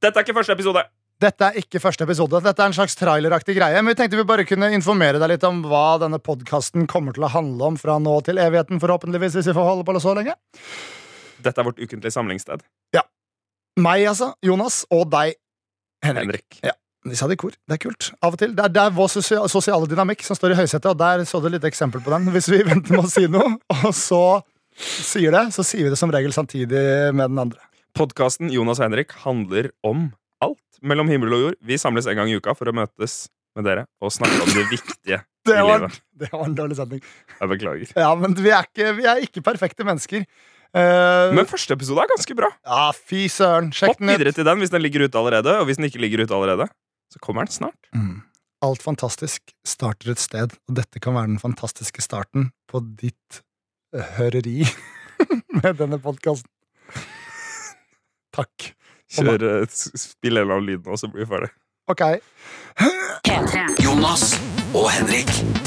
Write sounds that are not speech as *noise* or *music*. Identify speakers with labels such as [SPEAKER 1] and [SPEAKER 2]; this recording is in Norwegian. [SPEAKER 1] Dette er ikke første episode.
[SPEAKER 2] Dette er ikke første episode. Dette er en slags traileraktig greie. Men vi tenkte vi bare kunne informere deg litt om hva denne podkasten kommer til å handle om fra nå til evigheten, forhåpentligvis, hvis vi får holde på så lenge.
[SPEAKER 1] Dette er vårt ukentlige samlingssted.
[SPEAKER 2] Meg, altså. Jonas. Og deg, Henrik.
[SPEAKER 1] Henrik.
[SPEAKER 2] De sa det i kor. Det er kult. Av og til. Det er, det er vår sosia- sosiale dynamikk som står i høysetet, og der så du litt eksempel på den. Hvis vi venter med å si noe, *laughs* og så sier det, så sier vi det som regel samtidig med den andre.
[SPEAKER 1] Podkasten Jonas og Henrik handler om alt mellom himmel og jord. Vi samles en gang i uka for å møtes med dere og snakke om det viktige
[SPEAKER 2] Det
[SPEAKER 1] i
[SPEAKER 2] var,
[SPEAKER 1] livet.
[SPEAKER 2] *laughs* det var en dårlig setning.
[SPEAKER 1] Jeg beklager.
[SPEAKER 2] Ja, men vi er ikke, vi er ikke perfekte mennesker. Eh,
[SPEAKER 1] Men første episode er ganske bra.
[SPEAKER 2] ja, fy søren. Sjekk
[SPEAKER 1] Hopp
[SPEAKER 2] den ut.
[SPEAKER 1] videre til den hvis den ligger ute allerede. Og hvis den ikke ligger ute allerede, så kommer den snart.
[SPEAKER 2] Mm. Alt fantastisk starter et sted, og dette kan være den fantastiske starten på ditt eh, høreri *laughs* med denne podkasten. Takk.
[SPEAKER 1] Kjør, eh, s- Spill en eller annen lyd nå, så blir vi ferdig.
[SPEAKER 2] Ok.
[SPEAKER 3] Jonas og Henrik